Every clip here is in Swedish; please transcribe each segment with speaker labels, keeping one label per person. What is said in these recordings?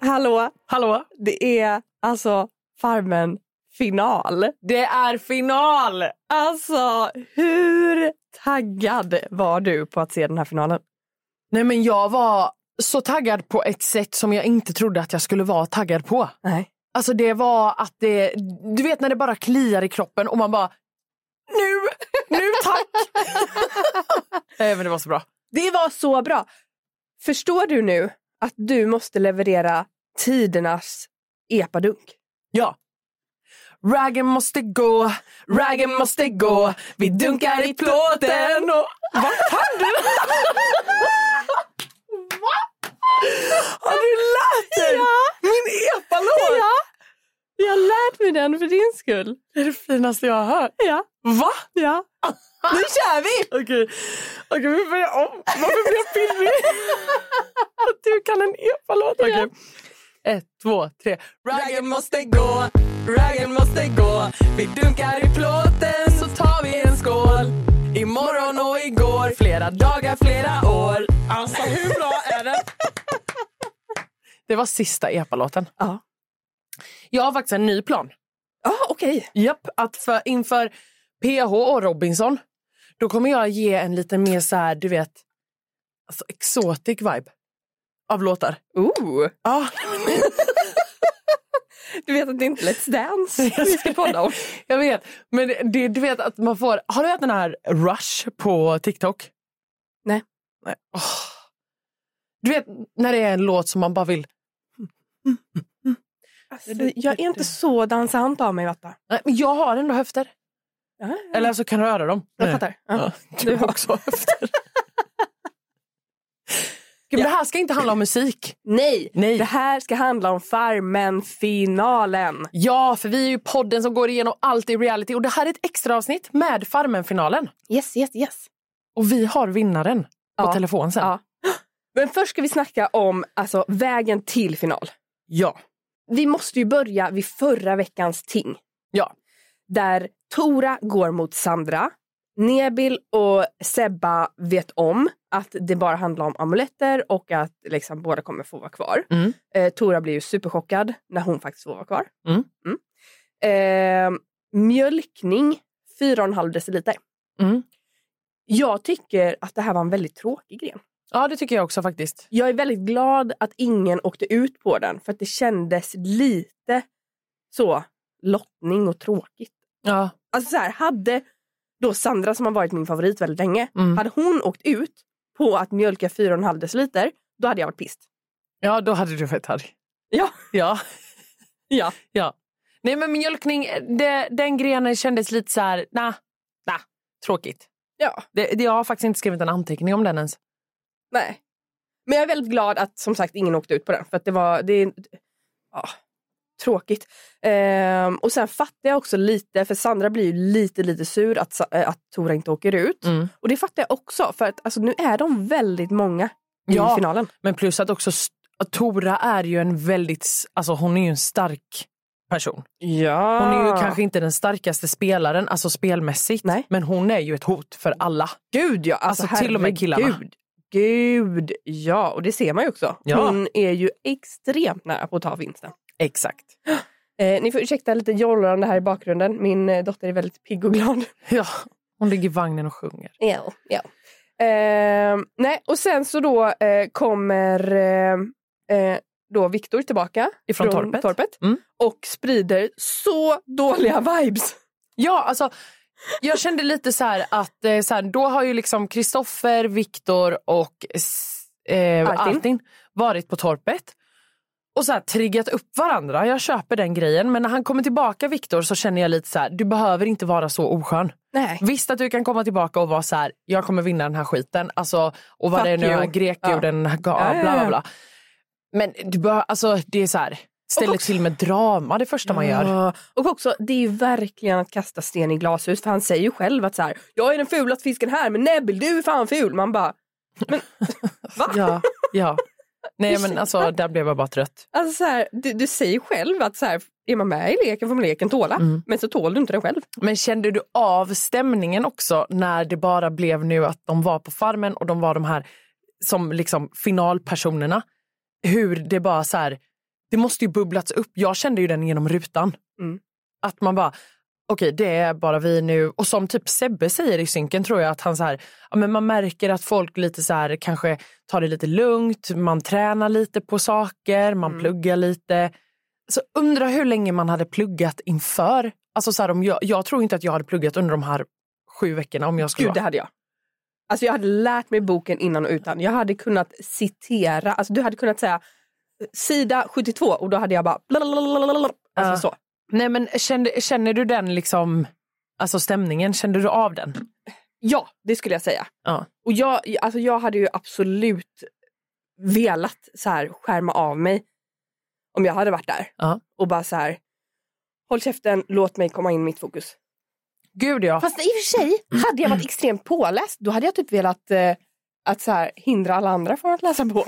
Speaker 1: Hallå, hallå. Det är alltså Farmen final.
Speaker 2: Det är final!
Speaker 1: Alltså, hur taggad var du på att se den här finalen?
Speaker 2: Nej men jag var så taggad på ett sätt som jag inte trodde att jag skulle vara taggad på.
Speaker 1: Nej.
Speaker 2: Alltså det var att det, du vet när det bara kliar i kroppen och man bara nu, nu tack! Nej "Eh, men det var så bra.
Speaker 1: Det var så bra. Förstår du nu att du måste leverera tidernas epadunk?
Speaker 2: Ja. Raggen måste gå, raggen måste gå, vi dunkar i plåten och... Vad kan du? Har du lärt dig min epalåt?
Speaker 1: Ja, jag har lärt mig den för din skull.
Speaker 2: Det är det finaste jag har hört.
Speaker 1: Ja,
Speaker 2: Va?
Speaker 1: ja.
Speaker 2: Nu kör vi! Okej, Okej vi börjar om. Varför blir jag pirrig? Att du kan en epalåt. Okej. Ett, två, tre. Raggen måste gå, raggen måste gå. Vi dunkar i plåten så tar vi en skål. Imorgon och igår, flera dagar, flera år. Alltså hur bra är det? Det var sista epalåten.
Speaker 1: Ja.
Speaker 2: Jag har faktiskt en ny plan.
Speaker 1: Ah, Okej.
Speaker 2: Japp, att för, inför PH och Robinson då kommer jag ge en lite mer så här, du vet, alltså exotic vibe av låtar.
Speaker 1: Ooh.
Speaker 2: Ja,
Speaker 1: Du vet att det inte är Let's Dance vi ska podda om.
Speaker 2: jag vet. Men det- det, du vet att man får, har du hört den här Rush på TikTok?
Speaker 1: Nej.
Speaker 2: Nej. Åh. Du vet när det är en låt som man bara vill,
Speaker 1: Alltså, jag är inte så dansant av mig, Vatta.
Speaker 2: nej men jag har ändå höfter.
Speaker 1: Ja,
Speaker 2: Eller alltså kan röra dem.
Speaker 1: jag fattar. Ja.
Speaker 2: Ja, du har också höfter. Gud, men Det här ska inte handla om musik.
Speaker 1: Nej.
Speaker 2: Nej.
Speaker 1: det här ska handla om Farmen-finalen.
Speaker 2: Ja, för vi är ju podden som går igenom allt i reality och det här är ett extra avsnitt med Farmen-finalen.
Speaker 1: Yes, yes, yes.
Speaker 2: Och vi har vinnaren på
Speaker 1: Ja.
Speaker 2: telefon sen.
Speaker 1: Ja. Men först ska vi snacka om alltså, vägen till final.
Speaker 2: Ja.
Speaker 1: Vi måste ju börja vid förra veckans ting.
Speaker 2: Ja.
Speaker 1: Där Tora går mot Sandra. Nebil och Sebba vet om att det bara handlar om amuletter och att liksom, båda kommer få vara kvar.
Speaker 2: Mm.
Speaker 1: Eh, Tora blir ju superchockad när hon faktiskt får vara kvar.
Speaker 2: Mm.
Speaker 1: Mm. Eh, mjölkning 4,5 deciliter.
Speaker 2: Mm.
Speaker 1: Jag tycker att det här var en väldigt tråkig gren.
Speaker 2: ja, det tycker jag också faktiskt.
Speaker 1: Jag är väldigt glad att ingen åkte ut på den för att det kändes lite så lottning och tråkigt.
Speaker 2: Ja.
Speaker 1: Alltså så här, hade då Sandra som har varit min favorit väldigt länge,
Speaker 2: Mm.
Speaker 1: hade hon åkt ut på att mjölka 4,5 deciliter, då hade jag varit pist.
Speaker 2: ja, då hade du varit arg.
Speaker 1: Ja.
Speaker 2: Ja.
Speaker 1: Ja.
Speaker 2: ja. Nej, men mjölkning, det, den grenen kändes lite så här, nah, nah, tråkigt.
Speaker 1: Ja,
Speaker 2: Det, det, jag har faktiskt inte skrivit en anteckning om den ens.
Speaker 1: nej. Men jag är väldigt glad att som sagt ingen åkte ut på den för att det var det är, ja, tråkigt. Ehm, och sen fattar jag också lite, för Sandra blir ju lite lite sur att, Sa- eh, att Tora inte åker ut.
Speaker 2: Mm.
Speaker 1: Och det fattar jag också för att alltså, nu är de väldigt många i
Speaker 2: Ja.
Speaker 1: finalen.
Speaker 2: Men plus att också st- Tora är ju en väldigt, s- alltså hon är ju en stark person.
Speaker 1: Ja.
Speaker 2: Hon är ju kanske inte den starkaste spelaren, alltså spelmässigt.
Speaker 1: Ah. Nej.
Speaker 2: Men hon är ju ett hot för alla.
Speaker 1: Gud ja,
Speaker 2: Alltså, till och med killarna.
Speaker 1: herregud. Gud ja, och det ser man ju också.
Speaker 2: Ja.
Speaker 1: Hon är ju extremt nära på att ta vinsten.
Speaker 2: Exakt.
Speaker 1: Eh, ni får ursäkta lite jollrande här i bakgrunden. Min eh, dotter är väldigt pigg och glad.
Speaker 2: Ja, hon ligger i vagnen och sjunger.
Speaker 1: Ja, ja. Eh, nej, och sen så då eh, kommer eh, eh, då Viktor tillbaka
Speaker 2: Ifrån torpet. Mm.
Speaker 1: och sprider så dåliga vibes.
Speaker 2: Ja, alltså jag kände lite så här att eh, så här, då har ju liksom Kristoffer, Viktor och s- eh,
Speaker 1: Artin.
Speaker 2: Artin varit på torpet. och så här, triggat upp varandra. Jag köper den grejen. Men när han kommer tillbaka Viktor så känner jag lite så här, du behöver inte vara så oskön.
Speaker 1: Nej.
Speaker 2: Visst att du kan komma tillbaka och vara så här, jag kommer vinna den här skiten. Alltså, och vad
Speaker 1: Fuck
Speaker 2: det nu är,
Speaker 1: you.
Speaker 2: grek
Speaker 1: Ja.
Speaker 2: gjorde, ja.
Speaker 1: Ja, ja,
Speaker 2: bla bla
Speaker 1: ja.
Speaker 2: bla. Men du bör, alltså, det är så här, ställer
Speaker 1: också-
Speaker 2: till med drama det första man gör.
Speaker 1: Ja. Ah, Och också, det är ju verkligen att kasta sten i glashus. För han säger ju själv att så här, jag är den fulaste fisken här, men Nebbil du är fan ful. Man bara, Va?
Speaker 2: Ja, ja. Nej men alltså där blev jag bara trött.
Speaker 1: alltså så här, du, du säger ju själv att så här, är man med i leken får man leken tåla.
Speaker 2: Mm.
Speaker 1: Men så tål du inte den själv.
Speaker 2: Men kände du av stämningen också när det bara blev nu att de var på farmen och de var de här som liksom finalpersonerna? Hur det bara så här, det måste ju bubblats upp. Jag kände ju den genom rutan.
Speaker 1: Mm.
Speaker 2: Att man bara, okej det är bara vi nu. Och som typ Sebbe säger i synken tror jag att han så här, ja, men man märker att folk lite så här kanske tar det lite lugnt, man tränar lite på saker, man
Speaker 1: Mm.
Speaker 2: pluggar lite. Så undrar hur länge man hade pluggat inför. Alltså så här, om jag, jag tror inte att jag hade pluggat under de här sju veckorna om jag skulle
Speaker 1: Gud, det
Speaker 2: vara.
Speaker 1: hade jag. Alltså jag hade lärt mig boken innan och utan. Jag hade kunnat citera, alltså du hade kunnat säga sida 72 och då hade jag bara blablabla. Alltså
Speaker 2: Ja.
Speaker 1: så.
Speaker 2: Nej men kände, känner du den liksom, alltså stämningen, kände du av den?
Speaker 1: Ja, det skulle jag säga.
Speaker 2: Ja.
Speaker 1: Och jag, alltså jag hade ju absolut velat så här skärma av mig om jag hade varit där
Speaker 2: Ja.
Speaker 1: och bara så här håll käften, låt mig komma in i mitt fokus.
Speaker 2: Gud ja. Mm.
Speaker 1: Fast i och för sig, hade jag varit extremt påläst då hade jag typ velat eh, att så här, hindra alla andra från att läsa på.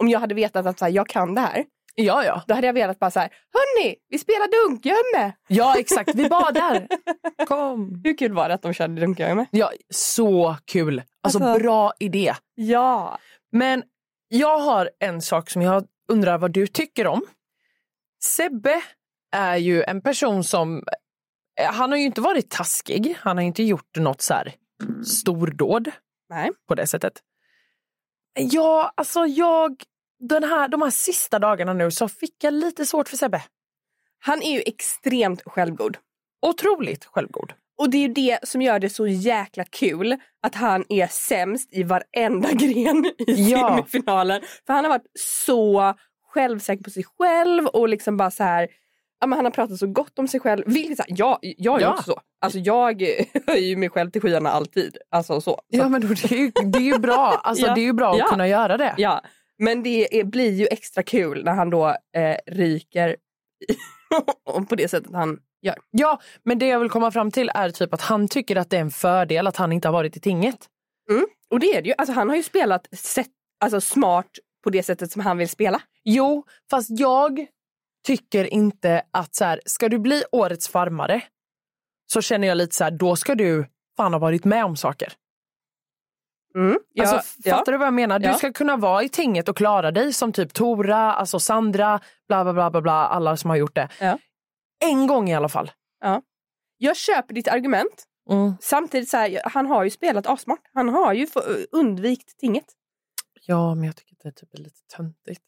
Speaker 1: Om jag hade vetat att så här, jag kan det här,
Speaker 2: Ja, ja.
Speaker 1: då hade jag velat bara så här, hörni, vi spelar dunkgömme.
Speaker 2: ja exakt, vi badar. Kom.
Speaker 1: Hur kul var det att de körde dunkgömme?
Speaker 2: Ja, så kul. Alltså,
Speaker 1: Alltså-
Speaker 2: bra idé.
Speaker 1: Ja.
Speaker 2: Men jag har en sak som jag undrar vad du tycker om. Sebbe är ju en person som... eh, Han har ju inte varit taskig. Han har inte gjort något så här stordåd
Speaker 1: Nej.
Speaker 2: på det sättet. Ja, alltså jag... Den här, de här sista dagarna nu så fick jag lite svårt för Sebbe.
Speaker 1: Han är ju extremt självgod.
Speaker 2: Otroligt självgod.
Speaker 1: Och det är ju det som gör det så jäkla kul att han är sämst i varenda gren i
Speaker 2: Ja.
Speaker 1: semifinalen. För han har varit så självsäker på sig själv och liksom bara så här Ja, men han har pratat så gott om sig själv. Vilket, så här, jag, jag är ju
Speaker 2: Ja.
Speaker 1: också så. Alltså, jag höjer ju mig själv till skyarna alltid. Alltså, så.
Speaker 2: Ja, men då, det, är ju, det är ju bra. Alltså,
Speaker 1: Ja.
Speaker 2: Det är ju bra att
Speaker 1: Ja.
Speaker 2: kunna göra det.
Speaker 1: Ja, men det är, blir ju extra kul när han då eh, ryker på det sättet han gör.
Speaker 2: Ja, men det jag vill komma fram till är typ att han tycker att det är en fördel att han inte har varit i tinget.
Speaker 1: Och det är det ju. Alltså, han har ju spelat set, alltså, smart på det sättet som han vill spela.
Speaker 2: Jo, fast jag tycker inte att så här, ska du bli årets farmare så känner jag lite så här, då ska du fan ha varit med om saker.
Speaker 1: Mm. Ja,
Speaker 2: alltså,
Speaker 1: ja.
Speaker 2: Fattar du vad jag menar? Du
Speaker 1: Ja.
Speaker 2: ska kunna vara i tinget och klara dig som typ Tora, alltså Sandra, bla bla bla bla, bla alla som har gjort det.
Speaker 1: Ja.
Speaker 2: En gång i alla fall.
Speaker 1: Jag köper ditt argument. Samtidigt, så här, han har ju spelat asmart. Han har ju få- undvikit tinget.
Speaker 2: Ja, men jag tycker att det är typ lite töntigt.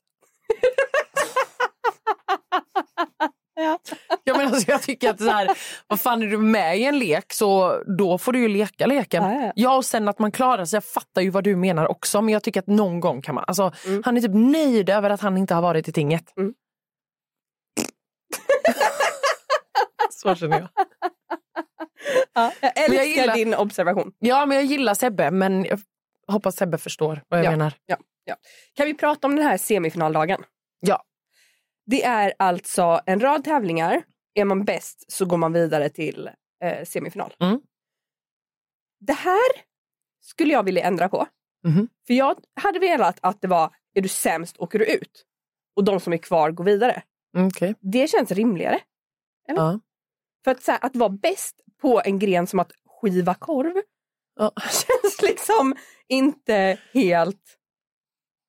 Speaker 1: Ja.
Speaker 2: Ja, men alltså, jag tycker att så här, vad fan är du med i en lek så då får du ju leka leken.
Speaker 1: Ja, ja.
Speaker 2: och sen att man klarar sig. Jag fattar ju vad du menar också men jag tycker att någon gång kan man. Alltså,
Speaker 1: Mm.
Speaker 2: Han är typ nöjd över att han inte har varit i tinget.
Speaker 1: Mm.
Speaker 2: så känner jag.
Speaker 1: Ja, jag älskar
Speaker 2: jag gillar-
Speaker 1: din observation.
Speaker 2: Ja men jag gillar Sebbe men jag hoppas Sebbe förstår vad jag
Speaker 1: Ja.
Speaker 2: menar.
Speaker 1: Kan vi prata om den här semifinaldagen?
Speaker 2: Ja.
Speaker 1: Det är alltså en rad tävlingar. Är man bäst så går man vidare till eh, semifinal.
Speaker 2: Mm.
Speaker 1: Det här skulle jag vilja ändra på.
Speaker 2: Mhm.
Speaker 1: För jag hade velat att det var är du sämst åker du ut. Och de som är kvar går vidare.
Speaker 2: Mm, Okej.
Speaker 1: Det känns rimligare.
Speaker 2: Ja.
Speaker 1: För att, så här, att vara bäst på en gren som att skiva korv
Speaker 2: Ja.
Speaker 1: känns liksom inte helt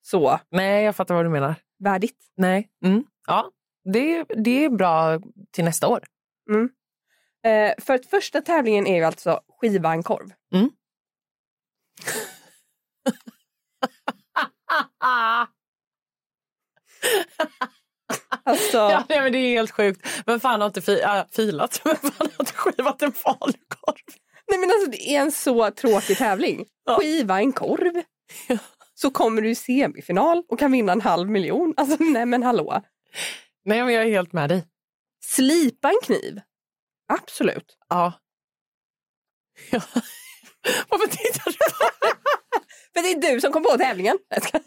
Speaker 1: så
Speaker 2: Nej jag fattar vad du menar.
Speaker 1: värdigt.
Speaker 2: Nej. Mm. Ja. Det, det är bra till nästa år.
Speaker 1: Eh, för att första tävlingen är ju alltså skiva en korv.
Speaker 2: Ah.
Speaker 1: Alltså,
Speaker 2: Ja, nej, men det är helt sjukt. Vem fan har inte fi- äh, filat? Vem fan har inte skivat en falukorv?
Speaker 1: Nej men alltså det är en så tråkig tävling. Skiva en korv. Så kommer du i semifinal och kan vinna en halv miljon. Alltså nej men hallå.
Speaker 2: Nej, men jag är helt med dig.
Speaker 1: Slipa en kniv? Absolut.
Speaker 2: Ja. ja. Varför tittar du på mig?
Speaker 1: För det är du som kom på tävlingen. Jag ska-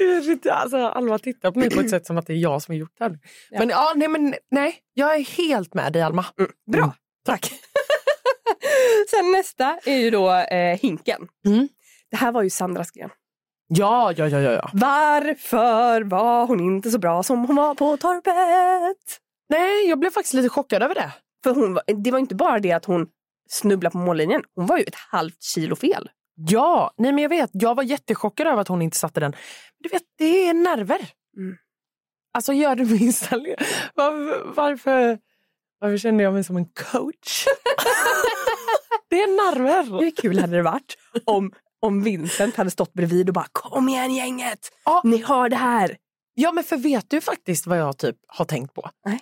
Speaker 2: Jag vet inte, Alltså, Alma tittar på mig på ett sätt som att det är jag som har gjort det. här.
Speaker 1: Ja.
Speaker 2: Men, ja, nej, men nej, jag är helt med dig, Alma.
Speaker 1: Bra.
Speaker 2: Mm. Tack.
Speaker 1: Sen nästa är ju då eh, hinken.
Speaker 2: Mm.
Speaker 1: Det här var ju Sandras gren.
Speaker 2: Ja, ja, ja, ja. ja.
Speaker 1: Varför var hon inte så bra som hon var på torpet?
Speaker 2: Nej, jag blev faktiskt lite chockad över det.
Speaker 1: För hon, var- det var inte bara det att hon snubblade på mållinjen. Hon var ju ett halvt kilo fel.
Speaker 2: Ja, nej men jag vet. Jag var jättechockad över att hon inte satte den. Men Du vet, det är nerver.
Speaker 1: Mm.
Speaker 2: Alltså gör det minsta. le- Varför, varför, varför känner jag mig som en coach? det är nerver.
Speaker 1: Hur kul hade det varit om, om Vincent hade stått bredvid och bara kom igen gänget,
Speaker 2: Ja.
Speaker 1: ni har det här.
Speaker 2: Ja, men för vet du faktiskt vad jag typ har tänkt på?
Speaker 1: Nej.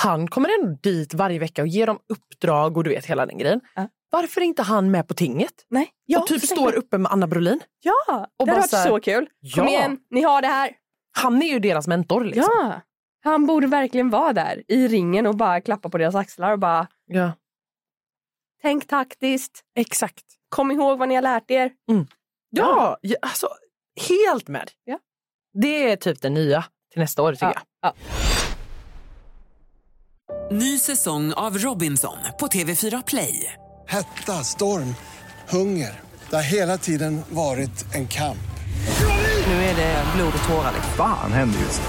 Speaker 2: Han kommer ändå dit varje vecka och ger dem uppdrag och du vet hela den grejen.
Speaker 1: Ja.
Speaker 2: Varför är inte han med på tinget?
Speaker 1: Nej,
Speaker 2: och typ står uppe med Anna Brolin.
Speaker 1: Ja,
Speaker 2: och
Speaker 1: det
Speaker 2: bara
Speaker 1: hade varit
Speaker 2: så här,
Speaker 1: så kul. Kom
Speaker 2: Ja.
Speaker 1: igen, ni har det här.
Speaker 2: Han är ju deras mentor. Liksom.
Speaker 1: Ja, han borde verkligen vara där i ringen och bara klappa på deras axlar och bara
Speaker 2: ja,
Speaker 1: tänk taktiskt,
Speaker 2: exakt.
Speaker 1: kom ihåg vad ni har lärt er.
Speaker 2: Ja, ja alltså helt med.
Speaker 1: Ja.
Speaker 2: Det är typ det nya till nästa år tycker jag.
Speaker 3: Ny säsong av Robinson på TV4 Play.
Speaker 4: Hetta, storm, hunger. Det har hela tiden varit en kamp.
Speaker 3: Nu är det blod och tårar.
Speaker 5: Fan händer just det.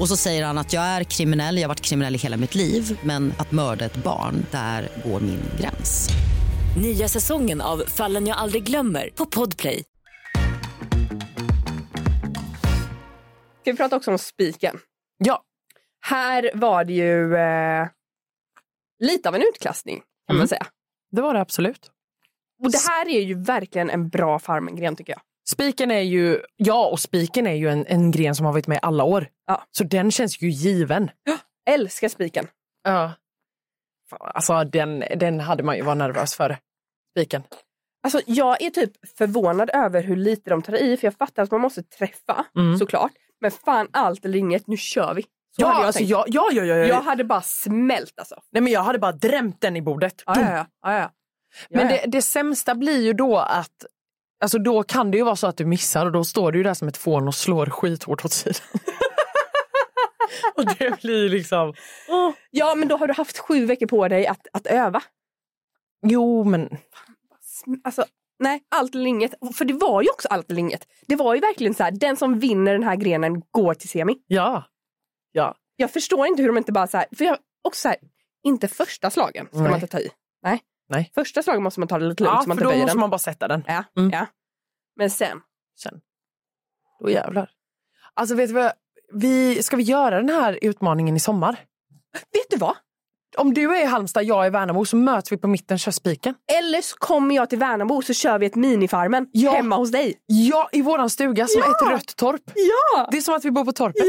Speaker 6: Och så säger han att jag är kriminell, jag har varit kriminell i hela mitt liv men att mörda ett barn, där går min gräns.
Speaker 7: Nya säsongen av Fallen jag aldrig glömmer på Podplay.
Speaker 1: Ska vi prata också om spiken?
Speaker 2: Ja.
Speaker 1: Här var det ju eh, lite av en utklassning kan man
Speaker 2: Mm.
Speaker 1: säga.
Speaker 2: Det var det absolut.
Speaker 1: Och det här är ju verkligen en bra farmengren tycker jag.
Speaker 2: Spiken är ju, ja och spiken är ju en, en gren som har varit med i alla år.
Speaker 1: Ja.
Speaker 2: Så den känns ju given.
Speaker 1: Älskar spiken.
Speaker 2: Ja. Alltså den, den hade man ju varit nervös för. Spiken.
Speaker 1: Alltså, jag är typ förvånad över hur lite de tar i för jag fattar att man måste träffa
Speaker 2: Mm.
Speaker 1: såklart. Men fan allt eller inget, nu kör vi. Så hade jag, tänkt.
Speaker 2: ja, alltså, ja, ja, ja, ja.
Speaker 1: jag hade bara smält alltså.
Speaker 2: Nej men jag hade bara drämt den i bordet.
Speaker 1: Ja, ja, ja. ja, ja.
Speaker 2: Men
Speaker 1: Ja,
Speaker 2: det, det sämsta blir ju då att Alltså då kan det ju vara så att du missar och då står du ju där som ett fån och slår skithårt åt sidan. och det blir liksom...
Speaker 1: ja, men då har du haft sju veckor på dig att, att öva.
Speaker 2: Jo men...
Speaker 1: Sm- Alltså, nej, allt eller inget. För det var ju också allt eller inget. Det var ju verkligen så här, den som vinner den här grenen går till semi.
Speaker 2: Ja. Ja.
Speaker 1: Jag förstår inte hur de inte bara så här, för jag också så här, inte första slagen ska
Speaker 2: Nej.
Speaker 1: man inte ta i. Nej.
Speaker 2: Nej.
Speaker 1: Första slagen måste man ta det lite lugnt
Speaker 2: ja
Speaker 1: så man
Speaker 2: för
Speaker 1: inte
Speaker 2: då
Speaker 1: böjer
Speaker 2: måste
Speaker 1: den.
Speaker 2: man bara sätta den.
Speaker 1: Ja,
Speaker 2: Mm.
Speaker 1: ja. Men sen,
Speaker 2: Sen. Då jävlar. Alltså vet du vad? jag- Vi, ska vi göra den här utmaningen i sommar?
Speaker 1: vet du vad?
Speaker 2: Om du är i Halmstad, jag är i Värnamo så möts vi på mitten, kör spiken.
Speaker 1: Eller så kommer jag till Värnamo så kör vi ett minifarmen
Speaker 2: Ja.
Speaker 1: hemma hos dig.
Speaker 2: Ja, i våran stuga som
Speaker 1: Ja!
Speaker 2: är ett rött torp.
Speaker 1: Ja!
Speaker 2: Det är som att vi bor på torpet.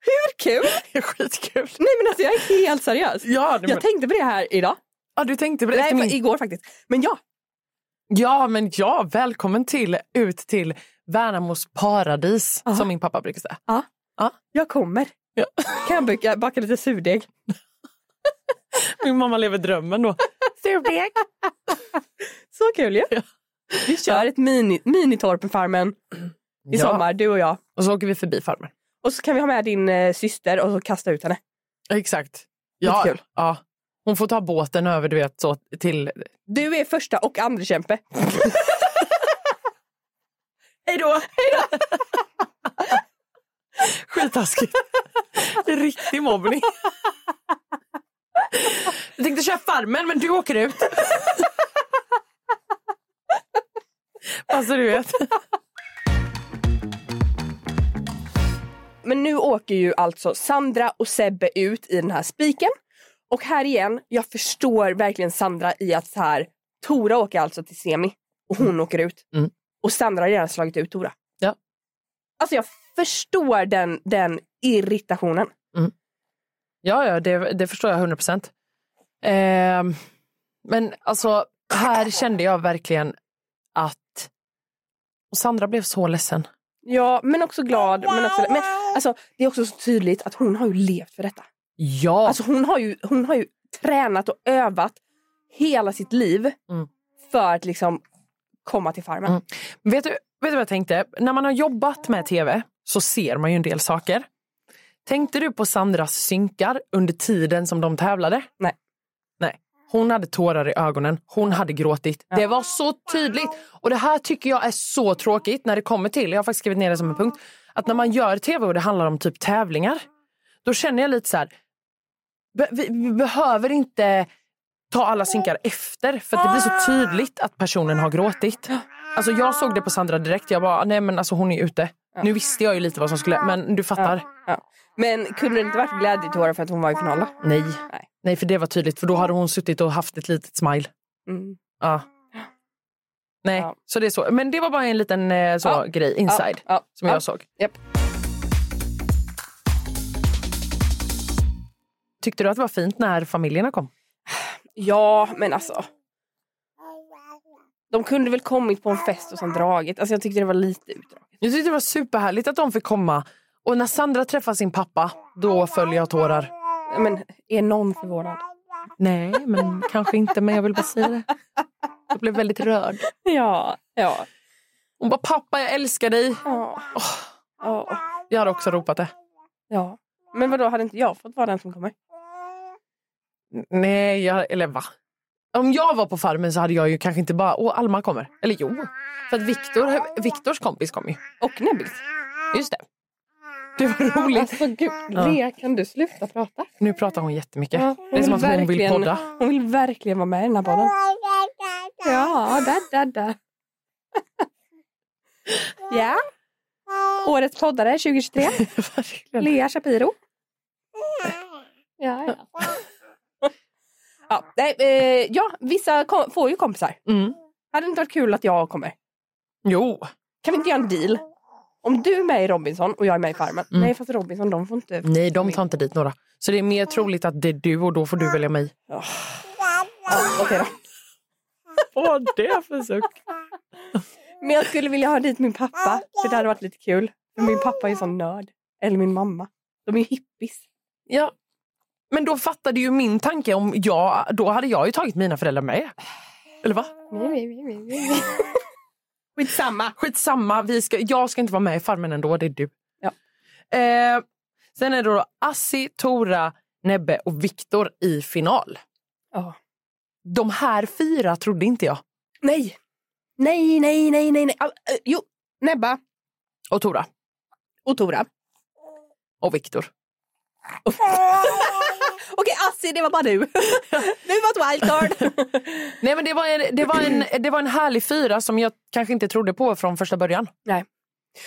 Speaker 1: Hur kul?
Speaker 2: Det är skitkul.
Speaker 1: Nej men alltså jag är helt seriös.
Speaker 2: Ja,
Speaker 1: Jag tänkte på det här idag.
Speaker 2: Ja, du tänkte på det.
Speaker 1: Nej,
Speaker 2: efter
Speaker 1: fa-
Speaker 2: min...
Speaker 1: igår faktiskt. Men ja,
Speaker 2: Ja, men ja, välkommen till, ut till Värnamos paradis,
Speaker 1: Ja.
Speaker 2: som min pappa brukar säga.
Speaker 1: jag kommer.
Speaker 2: Ja.
Speaker 1: Kan jag baka, baka lite surdeg?
Speaker 2: Min mamma lever drömmen då.
Speaker 1: Surdeg! Så kul ju. Vi kör ett mini, minitorp med farmen i sommar, du och jag.
Speaker 2: Och så åker vi förbi farmen.
Speaker 1: Och så kan vi ha med din eh, syster och så kasta ut henne.
Speaker 2: Exakt.
Speaker 1: Ja,
Speaker 2: Ja, ja. Hon får ta båten över, du vet, så till...
Speaker 1: Du är första och andra kämpe. Hej då!
Speaker 2: Skittaskigt. Det är Riktig mobbning. Jag tänkte köra farmen, men du åker ut. Alltså, du vet.
Speaker 1: men nu åker ju alltså Sandra och Sebbe ut i den här spiken. Och här igen, jag förstår verkligen Sandra i att så här, Tora åker alltså till semi och hon åker ut.
Speaker 2: Mm.
Speaker 1: Och Sandra har redan slagit ut Tora.
Speaker 2: Ja.
Speaker 1: Alltså jag förstår den, den irritationen.
Speaker 2: Ja, ja det, det förstår jag 100 procent. Ehm, men alltså, här kände jag verkligen att... Och Sandra blev så ledsen.
Speaker 1: Ja, men också glad. Men också, men, alltså, det är också så tydligt att hon har ju levt för detta.
Speaker 2: Ja,
Speaker 1: Alltså hon har ju, hon har ju tränat och övat hela sitt liv
Speaker 2: Mm.
Speaker 1: för att liksom komma till farmen.
Speaker 2: Mm. Vet du, vet du vad jag tänkte? När man har jobbat med tv så ser man ju en del saker. Tänkte du på Sandras synkar under tiden som de tävlade?
Speaker 1: Nej.
Speaker 2: Nej. Hon hade tårar i ögonen. Hon hade gråtit. Det var så tydligt. Och det här tycker jag är så tråkigt när det kommer till, jag har faktiskt skrivit ner det som en punkt, att när man gör tv och det handlar om typ tävlingar, då känner jag lite så här, be- vi, vi behöver inte ta alla synkar efter för att det blir så tydligt att personen har gråtit. Alltså jag såg det på Sandra direkt. Jag bara, nej men alltså hon är ute. Nu visste jag ju lite vad som skulle, men du fattar.
Speaker 1: Ja. Men kunde det inte varit glädjetårar för att hon var i final då?
Speaker 2: Nej.
Speaker 1: Nej.
Speaker 2: Nej, för det var tydligt. För då hade hon suttit och haft ett litet smile.
Speaker 1: Mm.
Speaker 2: Ja. Nej,
Speaker 1: Ja.
Speaker 2: så det är så. Men det var bara en liten eh, så
Speaker 1: Ja.
Speaker 2: grej inside
Speaker 1: Ja, ja,
Speaker 2: som
Speaker 1: ja.
Speaker 2: jag såg.
Speaker 1: Japp.
Speaker 2: Tyckte du att det var fint när familjerna kom?
Speaker 1: Ja, men alltså. De kunde väl kommit på en fest och sen dragit. Alltså jag tyckte det var lite utdraget.
Speaker 2: Jag tyckte det var superhärligt att de fick komma. Och när Sandra träffar sin pappa, då följer jag tårar.
Speaker 1: Men är någon förvånad?
Speaker 2: Nej, men kanske inte. Men jag vill bara säga det. Jag blev väldigt rörd.
Speaker 1: Ja, ja,
Speaker 2: Hon bara, pappa jag älskar dig.
Speaker 1: ja. ja.
Speaker 2: Jag hade också ropat det.
Speaker 1: ja. Men vadå, hade inte jag fått vara den som kommer?
Speaker 2: Nej, jag, eller va? Om jag var på farmen så hade jag ju kanske inte bara, åh Alma kommer. Eller jo, för att Viktor, Viktors kompis kom ju.
Speaker 1: Och Nebbis.
Speaker 2: Just det. Det var roligt.
Speaker 1: Alltså gud,
Speaker 2: Ja.
Speaker 1: Lea kan du sluta prata?
Speaker 2: Nu pratar hon jättemycket.
Speaker 1: Ja,
Speaker 2: det är som att hon vill
Speaker 1: verkligen-
Speaker 2: podda.
Speaker 1: Hon vill verkligen vara med i den här podden. Ja, där, där, där. Ja. Årets poddare 2023.
Speaker 2: Verkligen.
Speaker 1: Lea Shapiro. Ja, ja. ja, nej, eh, ja vissa kom, får ju kompisar.
Speaker 2: Mm.
Speaker 1: Hade det inte varit kul att jag kommer?
Speaker 2: Jo,
Speaker 1: Kan vi inte göra en deal? Om du är med i Robinson och jag är med i Farmen.
Speaker 2: Mm.
Speaker 1: Nej, fast Robinson, de får inte...
Speaker 2: nej de tar inte dit några. Så det är mer troligt att det är du och då får du välja mig.
Speaker 1: Ja. Ja, okej då.
Speaker 2: Vad var det för suck?
Speaker 1: Men jag skulle vilja ha dit min pappa. För det hade varit lite kul. För min pappa är ju sån nörd. Eller min mamma. De är ju hippies.
Speaker 2: Ja. Men då fattade ju min tanke om jag, då hade jag ju tagit mina föräldrar med. Eller va?
Speaker 1: Skitsamma.
Speaker 2: Skitsamma, vi ska, jag ska inte vara med i Farmen ändå, det är du.
Speaker 1: Ja.
Speaker 2: Eh, sen är det då Assi, Tora, Nebbe och Viktor i final.
Speaker 1: Ja.
Speaker 2: De här fyra trodde inte jag.
Speaker 1: Nej. Nej, nej, nej, nej. nej. Ah, eh, jo, Nebba
Speaker 2: Och Tora
Speaker 1: och Tora.
Speaker 2: och Viktor.
Speaker 1: Okej, Assi, det var bara du. du var ett wildcard.
Speaker 2: Nej men det var, en, det, var en, det var en härlig fyra som jag kanske inte trodde på från första början.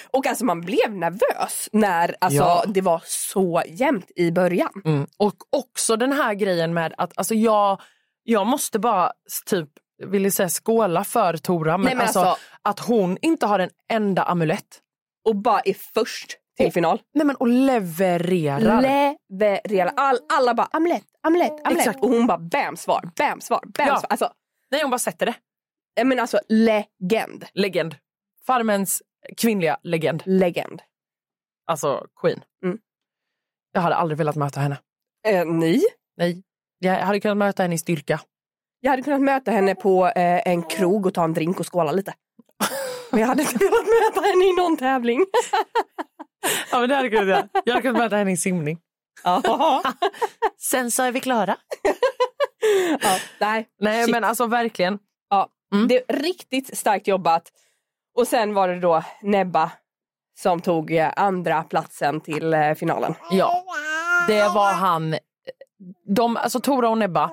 Speaker 1: och alltså man blev nervös när alltså,
Speaker 2: Ja. Mm.
Speaker 1: det var så jämnt i början.
Speaker 2: Och också den här grejen med att alltså jag, jag måste bara typ ville säga skåla för Tora men,
Speaker 1: Nej, men
Speaker 2: alltså,
Speaker 1: alltså-
Speaker 2: att hon inte har en enda amulett.
Speaker 1: Och bara är först till
Speaker 2: Och-
Speaker 1: final.
Speaker 2: Nej men och levererar.
Speaker 1: Leverera. All, alla bara amulett, amulett, amulett.
Speaker 2: Exakt.
Speaker 1: Och hon bara bam svar, bam svar, bam
Speaker 2: Ja.
Speaker 1: svar. Alltså,
Speaker 2: Nej hon bara sätter det.
Speaker 1: jag menar alltså legend.
Speaker 2: Legend. Farmens kvinnliga legend.
Speaker 1: Legend.
Speaker 2: Alltså queen.
Speaker 1: Mm.
Speaker 2: Jag hade aldrig velat möta henne.
Speaker 1: Eh, nej.
Speaker 2: Nej. Jag hade kunnat möta henne i styrka.
Speaker 1: Jag hade kunnat möta henne på eh, en krog och ta en drink och skåla lite. Men jag hade inte velat möta henne i någon tävling.
Speaker 2: Ja, men det hade kunnat jag. jag hade kunnat möta henne i simning.
Speaker 1: ja.
Speaker 2: Sen så är vi klara.
Speaker 1: Nej,
Speaker 2: Nej
Speaker 1: Shit.
Speaker 2: men alltså verkligen.
Speaker 1: Ja,
Speaker 2: Mm.
Speaker 1: det är riktigt starkt jobbat. Och sen var det då Nebba som tog eh, andra platsen till eh, finalen.
Speaker 2: Ja. Det var han. De, alltså Tora och Nebba.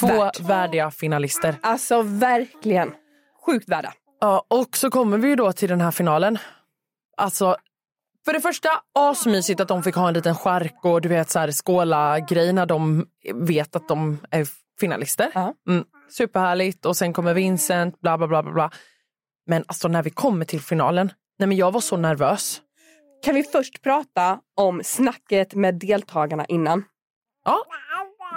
Speaker 2: Två
Speaker 1: Värt.
Speaker 2: värdiga finalister.
Speaker 1: Alltså verkligen sjukt värda.
Speaker 2: Ja, och så kommer vi ju då till den här finalen. Alltså För det första, asmysigt att de fick ha en liten skärk och du vet så här, skåla grej när de vet att de är finalister.
Speaker 1: Ja.
Speaker 2: Mm, superhärligt och sen kommer Vincent, bla bla bla bla, bla. Men alltså när vi kommer till finalen, nej men jag var så nervös.
Speaker 1: Kan vi först prata om snacket med deltagarna innan?
Speaker 2: Ja.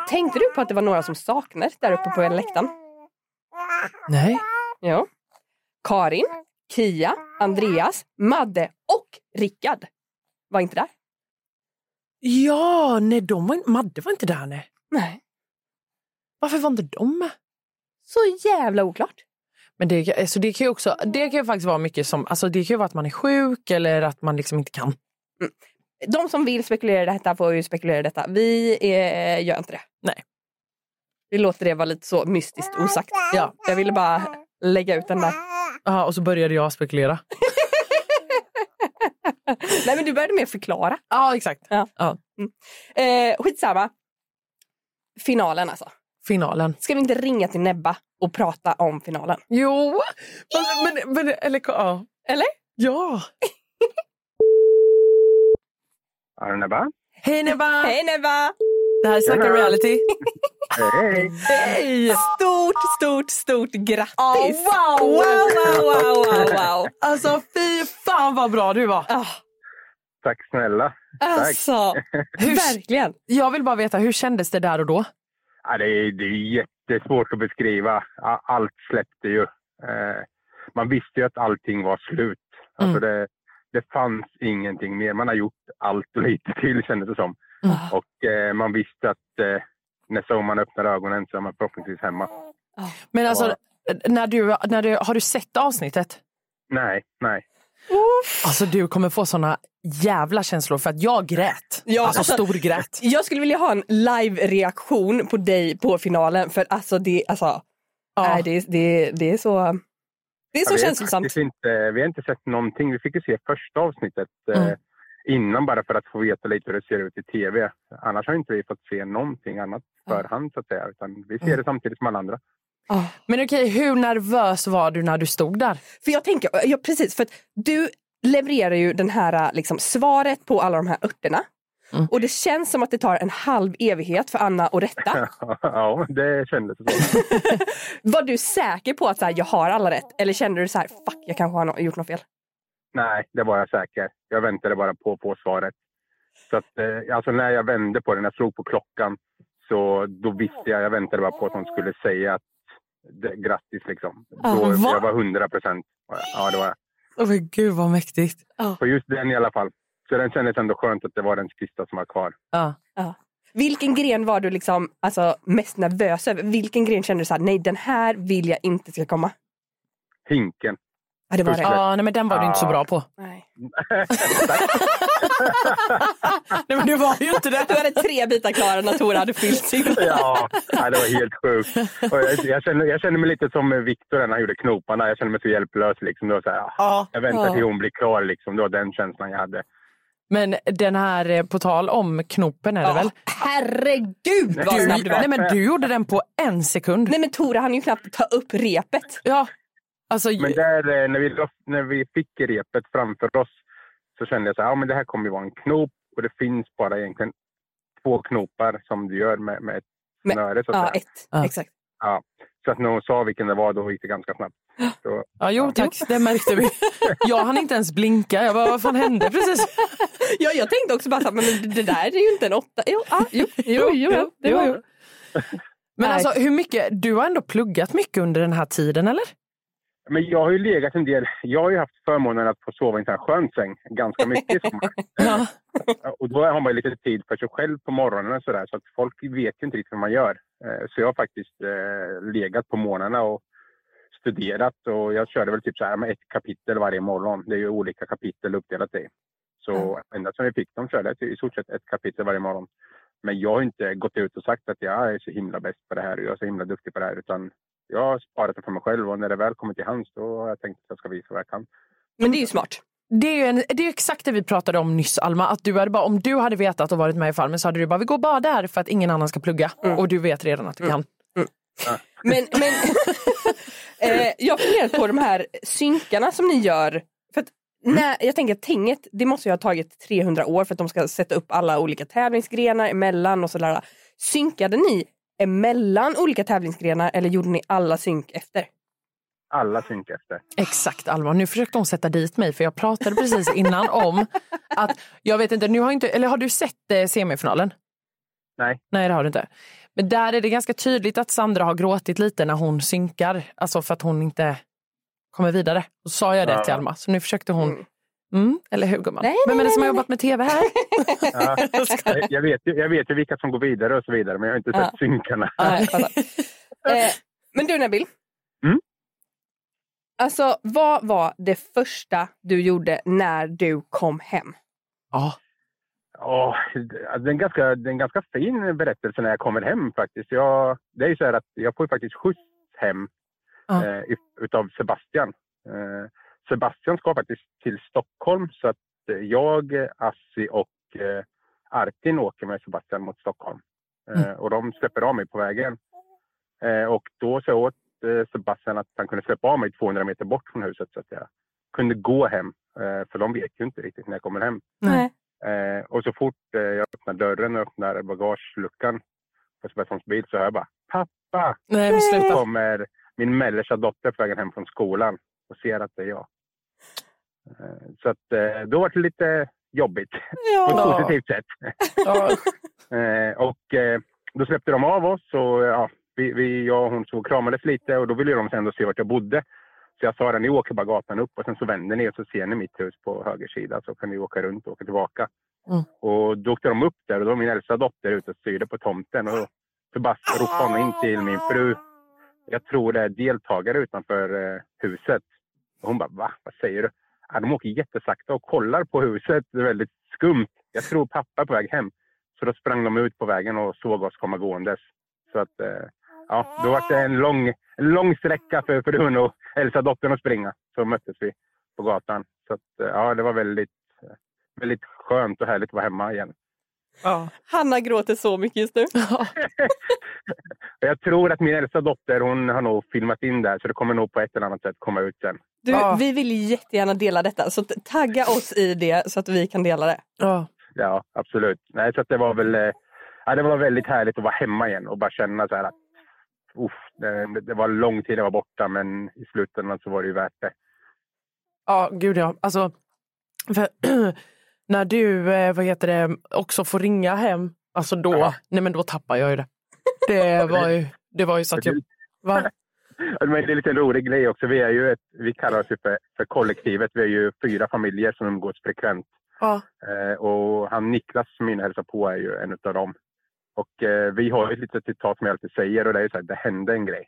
Speaker 1: Tänkte du på att det var några som saknades där uppe på läktaren?
Speaker 2: Nej.
Speaker 1: Ja. Karin, Kia, Andreas, Madde och Rickard var inte där.
Speaker 2: Ja, nej de var, in- Madde var inte där nej.
Speaker 1: Nej.
Speaker 2: Varför var inte de med?
Speaker 1: Så jävla oklart.
Speaker 2: Men det, alltså det kan ju också, det kan ju faktiskt vara mycket som, alltså det kan ju vara att man är sjuk eller att man liksom inte kan.
Speaker 1: De som vill spekulera i detta får ju spekulera i detta. Vi eh, gör inte det.
Speaker 2: Nej.
Speaker 1: Vi låter det vara lite så mystiskt osagt.
Speaker 2: Ja.
Speaker 1: Jag ville bara lägga ut den där.
Speaker 2: Ja, och så började jag spekulera.
Speaker 1: Nej men du började med att förklara.
Speaker 2: Ja, exakt.
Speaker 1: Ja.
Speaker 2: Ja,
Speaker 1: Eh, skitsamma. Finalen alltså.
Speaker 2: finalen.
Speaker 1: Ska vi inte ringa till Nebba och prata om finalen?
Speaker 2: Jo, men, men, men eller ja.
Speaker 1: Eller?
Speaker 2: Ja.
Speaker 8: Arneba?
Speaker 2: Hej Neva!
Speaker 1: Hej Nebba!
Speaker 2: Det här är Snacka
Speaker 8: Hej.
Speaker 2: reality.
Speaker 8: Hej!
Speaker 2: Hej!
Speaker 1: Stort, stort, stort grattis!
Speaker 2: wow,
Speaker 1: Ah, wow, wow, wow, wow, wow.
Speaker 2: Alltså fy fan vad bra du var.
Speaker 1: Ah,
Speaker 8: Tack snälla.
Speaker 1: alltså,
Speaker 2: Hur,
Speaker 1: verkligen.
Speaker 2: jag vill bara veta, hur kändes det där och då?
Speaker 8: Ja, det, är, det är jättesvårt att beskriva. A- Allt släppte ju. Eh, man visste ju att allting var slut. Alltså det, det fanns ingenting mer. Man har gjort allt och lite till kändes det som.
Speaker 2: Mm.
Speaker 8: Och eh, man visste att eh, nästa gång man öppnar ögonen så är man förhoppningsvis hemma.
Speaker 2: Men alltså,
Speaker 8: Ja.
Speaker 2: när du, när du, har du sett avsnittet?
Speaker 8: Nej, nej.
Speaker 2: Alltså du kommer få såna jävla känslor för att jag grät.
Speaker 1: Ja.
Speaker 2: Alltså stor grät.
Speaker 1: Jag skulle vilja ha en live-reaktion på dig på finalen för alltså det, alltså,
Speaker 2: Ja.
Speaker 1: nej, det, det, det är så, det
Speaker 8: Ja,
Speaker 1: är så
Speaker 8: vi har
Speaker 1: känslosamt.
Speaker 8: faktiskt Inte, vi har inte sett någonting. Vi fick ju se första avsnittet eh,
Speaker 2: Mm.
Speaker 8: innan bara för att få veta lite hur det ser ut i tv. Annars har inte vi fått se någonting annat
Speaker 6: Mm.
Speaker 8: förhand så att säga. Utan vi ser det samtidigt som alla andra.
Speaker 1: Ah.
Speaker 2: Men okej, hur nervös var du när du stod där?
Speaker 1: För jag tänker, ja, precis, för att du levererar ju den här liksom, svaret på alla de här örterna.
Speaker 2: Mm.
Speaker 1: Och det känns som att det tar en halv evighet för Anna att rätta.
Speaker 8: ja, det kändes så.
Speaker 1: Var du säker på att så här, jag har alla rätt? Eller kände du så här, fuck jag kanske har no- gjort något fel?
Speaker 8: Nej, det var jag säker. Jag väntade bara på, på svaret. Så att, eh, alltså när jag vände på den, jag slog på klockan, så då visste jag. Jag väntade bara på att hon skulle säga att det, grattis liksom.
Speaker 1: Ah,
Speaker 8: Då,
Speaker 2: va?
Speaker 8: jag var 100 procent. Ja, det var jag.
Speaker 2: Åh men gud vad mäktigt.
Speaker 8: på just den i alla fall. Så den kändes ändå skönt att det var den sista som var kvar.
Speaker 2: Ja.
Speaker 1: Vilken gren var du liksom, alltså, mest nervös över? Vilken gren kände du så här, nej den här vill jag inte ska komma?
Speaker 8: Hinken.
Speaker 1: Ja, det var det.
Speaker 2: Ja, nej, men den var du inte så
Speaker 8: Ja.
Speaker 2: bra på.
Speaker 1: Nej.
Speaker 2: Nej, men det var ju inte det.
Speaker 1: Du hade tre bitar klara när Tora hade fyllt sin.
Speaker 8: Ja, nej, det var helt sjukt. Och jag, jag, kände, jag kände mig lite som Viktor när han gjorde knoparna. Jag kände mig så hjälplös. Liksom. Det var så här, ah,
Speaker 2: Ja.
Speaker 8: jag väntar
Speaker 1: Ja.
Speaker 8: till hon blir klar. Liksom. Det var den känslan jag hade.
Speaker 2: Men den här, eh, på tal om knopen är det väl?
Speaker 1: Herregud vad
Speaker 2: Du,
Speaker 1: snabb du var.
Speaker 2: nej, men du gjorde den på en sekund.
Speaker 1: Nej men Tora hann ju knappt ta upp repet.
Speaker 2: Ja. Alltså,
Speaker 8: Men där, eh, när, vi, la- när vi fick repet framför oss så kände jag så här, ja, men det här kommer ju vara en knop. Och det finns bara egentligen två knopar som du gör med, med ett
Speaker 1: Men-
Speaker 8: snöre. Så, att
Speaker 1: Ja,
Speaker 8: säga.
Speaker 1: ett.
Speaker 2: Ja.
Speaker 1: Exakt.
Speaker 8: så att när hon sa vilken det var, då gick det ganska snabbt. Så,
Speaker 2: ja, jo tack, det märkte vi. Jag hann inte ens blinka. Jag bara, vad fan hände precis?
Speaker 1: Ja, jag tänkte också bara så här, men det där är ju inte en åtta. Jo, ah, jo, jo, jo, jo, det var ju.
Speaker 2: Men
Speaker 1: Nej.
Speaker 2: alltså hur mycket, du har ändå pluggat mycket under den här tiden eller?
Speaker 8: Men jag har ju legat en del. Jag har ju haft förmånen att få sova i en sån här skön säng ganska mycket i sommar.
Speaker 2: Ja.
Speaker 8: Och då har man ju lite tid för sig själv på morgonen och sådär. Så att folk vet ju inte riktigt vad man gör. Eh, Så jag har faktiskt eh, legat på morgnarna och studerat. Och jag körde väl typ så här med ett kapitel varje morgon. Det är ju olika kapitel uppdelat i. Så ända sedan vi fick dem körde jag till i stort sett ett kapitel varje morgon. Men jag har ju inte gått ut och sagt att jag är så himla bäst på det här och jag är så himla duktig på det här. Utan jag har sparat det för mig själv och när det väl kommer till hands då har jag tänkt att jag ska visa vad jag kan.
Speaker 1: Men det är ju smart.
Speaker 2: Det är ju en, det är ju exakt det vi pratade om nyss Alma, att du hade bara, om du hade vetat och varit med i Farmen så hade du bara, vi går bara där för att ingen annan ska plugga
Speaker 1: Mm.
Speaker 2: och du vet redan att du kan.
Speaker 1: Men, men eh, jag funderar på de här synkarna som ni gör. För att Nej, jag tänker att tinget, det måste ju ha tagit 300 år för att de ska sätta upp alla olika tävlingsgrenar emellan och sådär. Synkade ni emellan olika tävlingsgrenar eller gjorde ni alla synk efter?
Speaker 8: Alla synk efter.
Speaker 2: Exakt Alva, nu försökte hon sätta dit mig för jag pratade precis innan om att jag vet inte, nu har inte, eller har du sett eh, semifinalen?
Speaker 8: Nej.
Speaker 2: Nej det har du inte. Men där är det ganska tydligt att Sandra har gråtit lite när hon synkar, alltså för att hon inte kommer vidare. Och så sa jag det
Speaker 8: Ja.
Speaker 2: till Alma, så nu försökte hon, mm, eller hur gumman?
Speaker 1: Nej,
Speaker 2: Vem är
Speaker 1: nej,
Speaker 2: det som har
Speaker 1: nej,
Speaker 2: jobbat med tv här?
Speaker 8: Ja. Jag- Jag, vet ju, jag vet ju vilka som går vidare och så vidare, men jag har inte sett
Speaker 1: Ja.
Speaker 8: synkarna.
Speaker 1: Nej, fattar. eh, men du Nabil.
Speaker 8: Mm.
Speaker 1: Alltså vad var det första du gjorde när du kom hem?
Speaker 2: Ja,
Speaker 8: Ja, det är, en ganska, det är en ganska fin berättelse när jag kommer hem faktiskt. Jag, det är ju så här att jag får ju faktiskt skjuts hem
Speaker 2: Ja.
Speaker 8: eh, if- utav Sebastian. Eh, Sebastian ska faktiskt till Stockholm så att eh, jag, eh, Assi och eh, Artin åker med Sebastian mot Stockholm. Eh, Och de släpper av mig på vägen. Eh, och då sa jag åt eh, Sebastian att han kunde släppa av mig 200 meter bort från huset så att jag kunde gå hem. Eh, för de vet ju inte riktigt när jag kommer hem.
Speaker 1: Nej.
Speaker 8: Eh, och så fort eh, jag öppnar dörren och öppnar bagageluckan på Sebastians bil så hör jag bara pappa!
Speaker 2: nej men sluta.
Speaker 8: kommer min mellersta dotter på vägen hem från skolan och ser att det är jag. Eh, så att eh, då var det lite jobbigt på ett
Speaker 2: Ja.
Speaker 8: positivt sätt.
Speaker 2: Ja.
Speaker 8: Eh, och eh, då släppte de av oss och eh, ja, vi, vi, jag och hon så kramades lite och då ville de ändå se vart jag bodde. Så jag sa att ni åker bara gatan upp och sen så vänder ni och så ser ni mitt hus på höger sida så kan ni åka runt och åka tillbaka.
Speaker 2: Mm.
Speaker 8: Och då åkte de upp där och då var min äldsta dotter ute och styrde på tomten och Sebastian ropade honom in till min fru. Jag tror det är deltagare utanför eh, huset. Och hon bara va? Vad säger du? Ja, de åker jättesakta och kollar på huset. Det är väldigt skumt. Jag tror pappa är på väg hem. Så då sprang de ut på vägen och såg oss komma gåendes. Så att, eh, ja, då var det en lång, en lång sträcka för frun och äldsta dottern att springa. Så möttes vi på gatan. Så att, eh, ja, det var väldigt, eh, väldigt skönt och härligt att vara hemma igen.
Speaker 2: Ja.
Speaker 1: Hanna gråter så mycket just nu.
Speaker 8: Och Jag tror att min äldsta dotter hon har nog filmat in det här så det kommer nog på ett eller annat sätt komma ut sen.
Speaker 1: Du,
Speaker 2: Ja.
Speaker 1: Vi vill ju jättegärna dela detta så t- tagga oss i det så att vi kan dela det.
Speaker 2: Ja.
Speaker 8: Ja, absolut. Nej, så att det var väl eh, ja, det var väldigt härligt att vara hemma igen och bara känna så här att uff, det, det var lång tid jag var borta men i slutändan så var det ju värt det.
Speaker 2: Ja, gud ja. Alltså, för när du eh, vad heter det, också får ringa hem, alltså då,
Speaker 8: Ja.
Speaker 2: nej men då tappar jag ju det. Det var ju, det var ju så att jag... Va?
Speaker 8: Ja, Men det är en liten rolig grej också. Vi, är ju ett, vi kallar oss ju för, för kollektivet. Vi är ju fyra familjer som umgås frekvent.
Speaker 2: Ja.
Speaker 8: Eh, och han Niklas som min hälsar på är ju en av dem. Och eh, vi har ju ett litet citat som jag alltid säger och det är ju så här, det hände en grej.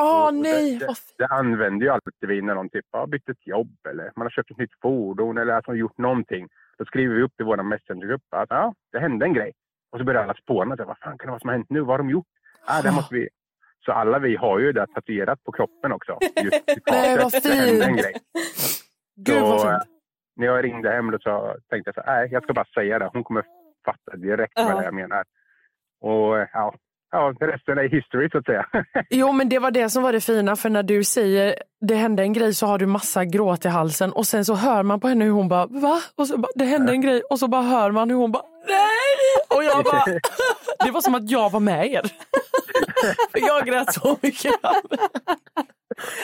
Speaker 2: Åh
Speaker 8: Och det-
Speaker 2: nej!
Speaker 8: det-
Speaker 2: vad fint.
Speaker 8: Det använder ju alltid vi när någon typ har bytt ett jobb eller man har köpt ett nytt fordon eller att man har gjort någonting. Då skriver vi upp i vår messengergrupp att ja, det hände en grej. Och så börjar alla spåna. Så här, Vad fan kan det vara som har hänt nu? Vad har de gjort? Ah, det här måste vi... Så alla vi har ju det tatuerat på kroppen också. Just citatet,
Speaker 2: Nej, vad
Speaker 8: Det hände en
Speaker 2: fint.
Speaker 8: grej.
Speaker 2: Gud vad
Speaker 8: Så,
Speaker 2: fint.
Speaker 8: När jag ringde hem då så tänkte jag så här, nej, jag ska bara säga det. Hon kommer fatta direkt
Speaker 1: Ja.
Speaker 8: vad det är jag menar. Och ja, ja, resten är history så att säga.
Speaker 2: Jo men det var det som var det fina för när du säger det hände en grej så har du massa gråt i halsen och sen så hör man på henne hur hon bara va? Och så bara, det hände en grej och så bara hör man hur hon bara nej! Och jag bara det var som att jag var med er. För jag grät så mycket.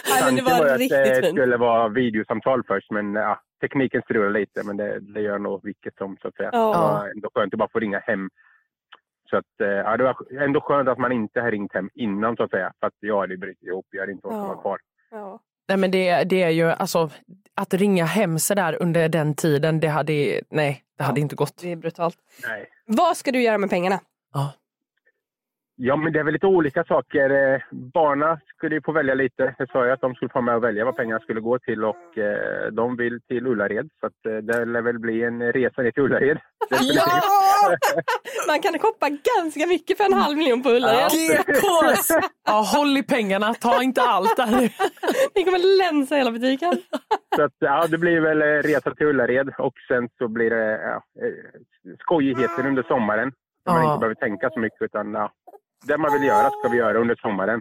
Speaker 1: Nej, men det
Speaker 8: Tanken var ju
Speaker 1: var
Speaker 8: att det
Speaker 1: riktigt fint.
Speaker 8: skulle vara videosamtal först, men ja, tekniken strulade lite. Men det, det gör nog vilket som, så att säga.
Speaker 1: Ja.
Speaker 8: Det var ändå skönt att bara få ringa hem. Så att, eh, ja, det var ändå skönt att man inte har ringt hem innan, så att säga. För att jag hade ju brutit ihop, jag hade inte orkat
Speaker 1: Ja.
Speaker 8: vara kvar.
Speaker 1: Ja.
Speaker 2: Nej men det, det är ju alltså att ringa hem så där under den tiden det hade, nej, det hade inte gått.
Speaker 1: Det är brutalt.
Speaker 8: Nej.
Speaker 1: Vad ska du göra med pengarna?
Speaker 8: Ja, men det är väl lite olika saker. Eh, Barna skulle ju få välja lite. Jag sa ju att de skulle få vara med och välja vad pengarna skulle gå till och eh, de vill till Ullared. Så att, eh, det lär väl bli en resa ner till Ullared. Definitivt.
Speaker 1: Man kan shoppa ganska mycket för en halv miljon på Ullared.
Speaker 2: GKs! Ja, håll i pengarna, ta inte allt där nu.
Speaker 1: Ni kommer länsa hela butiken.
Speaker 8: Så att, ja, det blir väl eh, resa till Ullared och sen så blir det ja, eh, skojigheter under sommaren. Där man
Speaker 2: Ja.
Speaker 8: inte behöver tänka så mycket utan ja, det man vill göra ska vi göra under sommaren.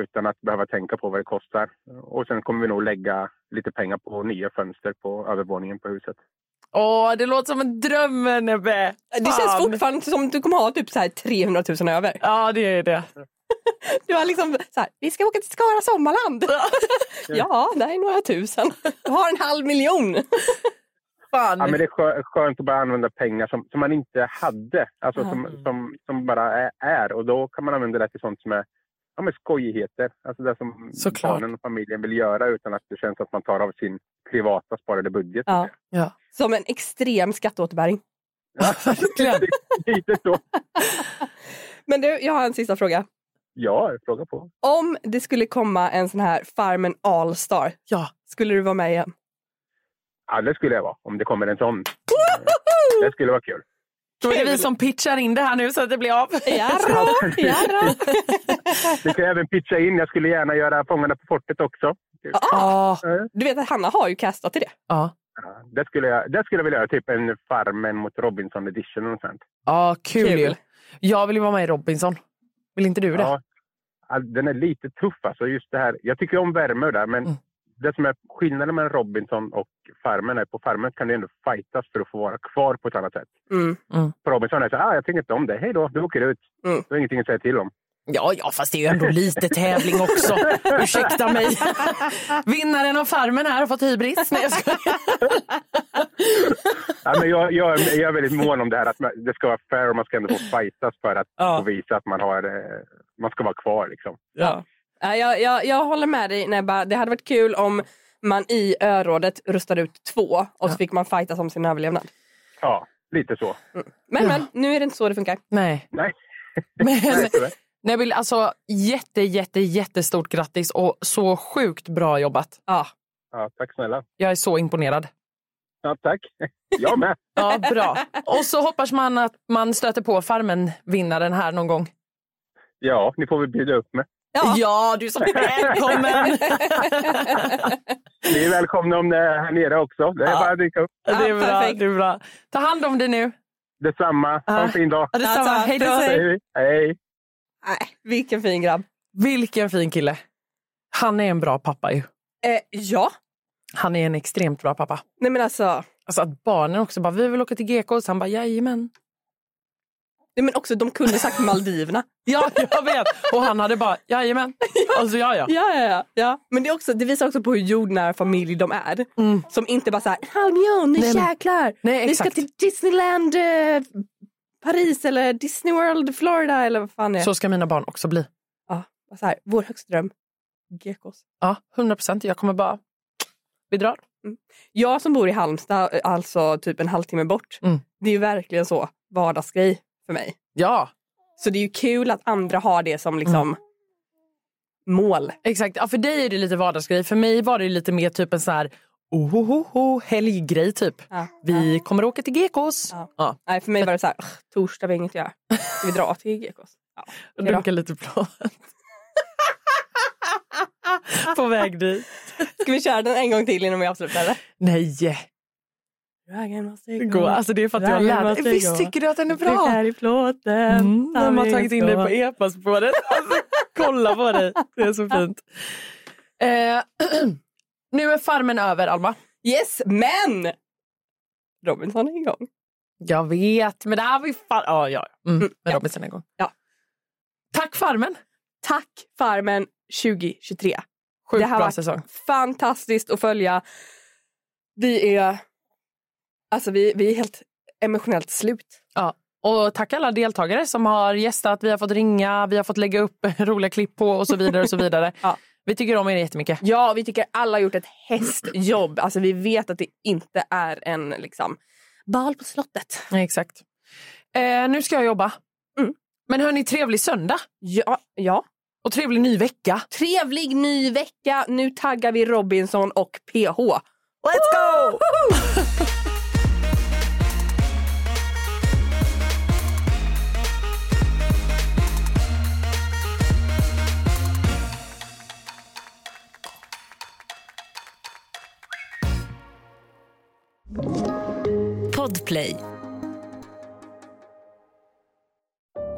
Speaker 8: utan att behöva tänka på vad det kostar. Och sen kommer vi nog lägga lite pengar på nya fönster på övervåningen på huset.
Speaker 2: Åh, det låter som en dröm, Nebbe.
Speaker 1: Det känns fortfarande som du kommer ha typ så här 300 000 över.
Speaker 2: Ja, det är det.
Speaker 1: Du har liksom så här, vi ska åka till Skara Sommarland. ja, det här är några tusen. Du har en halv miljon.
Speaker 2: Fan.
Speaker 8: Ja, men det är skö- skönt att bara använda pengar som, som man inte hade, alltså som, som, som bara är, är. Och då kan man använda det till sånt som är ja, men skojigheter. Alltså det som
Speaker 2: Såklart.
Speaker 8: barnen och familjen vill göra utan att det känns att man tar av sin privata sparade budget.
Speaker 1: Ja.
Speaker 2: Ja.
Speaker 1: Som en extrem skatteåterbäring.
Speaker 2: Verkligen.
Speaker 8: Lite så.
Speaker 1: Men du, jag har en sista fråga.
Speaker 8: Ja, fråga på.
Speaker 1: Om det skulle komma en sån här Farmen Allstar,
Speaker 2: Ja.
Speaker 1: skulle du vara med igen?
Speaker 8: Ja, det skulle jag vara om det kommer en sån. Det skulle vara kul.
Speaker 2: Då är det vi som pitchar in det här nu så att det blir av.
Speaker 1: Jarra, jarra.
Speaker 8: Du kan även pitcha in. Jag skulle gärna göra Fångarna på fortet också.
Speaker 2: Ja.
Speaker 1: Du vet att Hanna har ju kastat till det.
Speaker 2: Ja,
Speaker 8: Ja, Det skulle jag, det skulle jag vilja göra. Typ en Farmen mot Robinson edition och sånt.
Speaker 2: ja kul,
Speaker 1: Kul.
Speaker 2: ju. Jag vill ju vara med i Robinson. Vill inte du det?
Speaker 8: Ja. Ja, Den är lite tuff alltså. Just det här. Jag tycker om värme och där, men
Speaker 2: Mm.
Speaker 8: det som är skillnaden mellan Robinson och Farmen är på Farmen kan du ändå fightas för att få vara kvar på ett annat sätt.
Speaker 1: Mm.
Speaker 8: På Robinson är det så här, ah, jag tänker inte om det. Hej då, du åker ut.
Speaker 1: Mm.
Speaker 8: Du har ingenting att säga till om.
Speaker 2: Ja, ja, fast det är ju ändå lite tävling också. Ursäkta mig. Vinnaren av Farmen här har fått hybris. Nej, jag skojar.
Speaker 8: Ja, men jag, jag, är- jag är väldigt mån om det här att man- det ska vara fair och man ska ändå få fightas för att
Speaker 2: Ja.
Speaker 8: få visa att man, har, eh, man ska vara kvar. Liksom.
Speaker 2: Ja.
Speaker 1: Nej, Jag, jag, jag håller med dig Nebba. Det hade varit kul om man i örådet rustade ut två och så fick man fightas om sin överlevnad.
Speaker 8: Ja, lite så.
Speaker 1: Men, men nu är det inte så det funkar.
Speaker 2: Nej.
Speaker 8: Nej.
Speaker 2: Men,
Speaker 8: tyvärr.
Speaker 2: nej, vill, alltså, jätte, jätte, jättestort grattis och så sjukt bra jobbat.
Speaker 1: Ja.
Speaker 8: Ja, tack snälla.
Speaker 2: Jag är så imponerad.
Speaker 8: Ja, tack. Jag med.
Speaker 2: Ja, bra. Och så hoppas man att man stöter på Farmen-vinnaren här någon gång.
Speaker 8: Ja, ni får väl bjuda upp mig.
Speaker 1: Ja.
Speaker 2: du som välkommen!
Speaker 8: Ni är välkomna om ni är här nere också. Det är bara att dyka upp.
Speaker 2: Det är, bra,
Speaker 1: perfekt.
Speaker 2: det är bra. Ta hand om dig nu.
Speaker 8: Detsamma. Ha en
Speaker 2: Ja.
Speaker 8: fin dag.
Speaker 2: Ja, detsamma.
Speaker 1: Tack, tack.
Speaker 2: Hej då.
Speaker 1: Puss, hej.
Speaker 8: Hej. Hej.
Speaker 1: Nej, vilken fin grabb.
Speaker 2: Vilken fin kille. Han är en bra pappa ju.
Speaker 1: Eh, ja,
Speaker 2: Han är en extremt bra pappa.
Speaker 1: nej men alltså.
Speaker 2: Alltså att barnen också bara, vi vill åka till GKs. Han bara, jajamän.
Speaker 1: Nej, men också de kunde sagt Maldiverna.
Speaker 2: Ja, jag vet. Och han hade bara, jajamän. Alltså ja, ja. Mm.
Speaker 1: Ja, ja, ja, ja. Men det, är också, det visar också på hur jordnära familj de är. Som inte bara så här, halv miljon, nu
Speaker 2: Nej, men-
Speaker 1: jäklar.
Speaker 2: Nej,
Speaker 1: Vi ska
Speaker 2: exakt.
Speaker 1: till Disneyland eh, Paris eller Disney World Florida eller vad fan det är.
Speaker 2: Så ska mina barn också bli.
Speaker 1: Ja, bara så här, vår högsta dröm, gekos.
Speaker 2: Ja, 100 procent. Jag kommer bara, vi drar.
Speaker 1: Jag som bor i Halmstad, eh, alltså typ en halvtimme bort.
Speaker 2: Mm.
Speaker 1: Det är ju verkligen så vardagsgrej för mig.
Speaker 2: Ja,
Speaker 1: Så det är ju kul att andra har det som liksom
Speaker 2: Mm.
Speaker 1: mål.
Speaker 2: exakt. Ja, för dig är det lite vardagsgrej. För mig var det lite mer typ en så här, ohohoho, helggrej typ.
Speaker 1: Ja.
Speaker 2: Vi kommer åka till GKs.
Speaker 1: Ja.
Speaker 2: Ja.
Speaker 1: Nej, för mig var det så här, "Ugh, torsdag vi har inget att göra. Ska vi dra till gekos? Ja.
Speaker 2: Och
Speaker 1: Okej då.
Speaker 2: Dunka lite plan. På väg dit.
Speaker 1: Ska vi köra den en gång till innan vi avslutar? eller?
Speaker 2: Nej, gå. Alltså det är för att jag
Speaker 1: Dragen
Speaker 2: lärde
Speaker 1: måste
Speaker 2: mig. Visst
Speaker 1: gå.
Speaker 2: tycker du att den är
Speaker 1: Det
Speaker 2: bra?
Speaker 1: här i plåten.
Speaker 2: Mm, de har
Speaker 1: Sanningen
Speaker 2: tagit in dig
Speaker 1: står.
Speaker 2: på epa-spåret. Alltså, kolla på dig. Det är så fint. Eh, nu är Farmen över, Alma.
Speaker 1: Yes, men! Robinson är igång.
Speaker 2: Jag vet, men det här var ju far... Ja, ja. Mm, med Robinson en gång.
Speaker 1: Ja.
Speaker 2: Tack Farmen.
Speaker 1: Tack Farmen 2023.
Speaker 2: Sjukt
Speaker 1: Det här
Speaker 2: bra
Speaker 1: var-
Speaker 2: säsong.
Speaker 1: Fantastiskt att följa. Vi är, alltså vi, vi är helt emotionellt slut.
Speaker 2: Ja. Och tack alla deltagare som har gästat. Vi har fått ringa, vi har fått lägga upp roliga klipp på och så vidare. och så vidare.
Speaker 1: Ja.
Speaker 2: Vi tycker om er jättemycket.
Speaker 1: Ja, vi tycker alla har gjort ett hästjobb. Alltså vi vet att det inte är en liksom bal på slottet.
Speaker 2: Ja, exakt. Eh, nu ska jag jobba.
Speaker 1: Mm.
Speaker 2: Men hörni, trevlig söndag
Speaker 1: Ja, ja.
Speaker 2: och trevlig ny vecka.
Speaker 1: Trevlig ny vecka. Nu taggar vi Robinson och PH.
Speaker 2: Let's go!
Speaker 7: Podplay.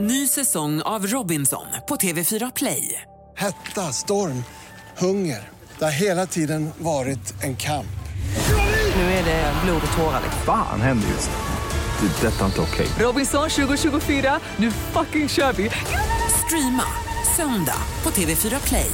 Speaker 3: Ny säsong av Robinson på TV4 Play.
Speaker 4: Hetta, storm, hunger. Det har hela tiden varit en kamp.
Speaker 9: Nu är det blod och tårar.
Speaker 8: Fan händer just det. Det är detta inte okej.
Speaker 3: Robinson 2024, nu fucking kör vi! Streama söndag på TV4 Play.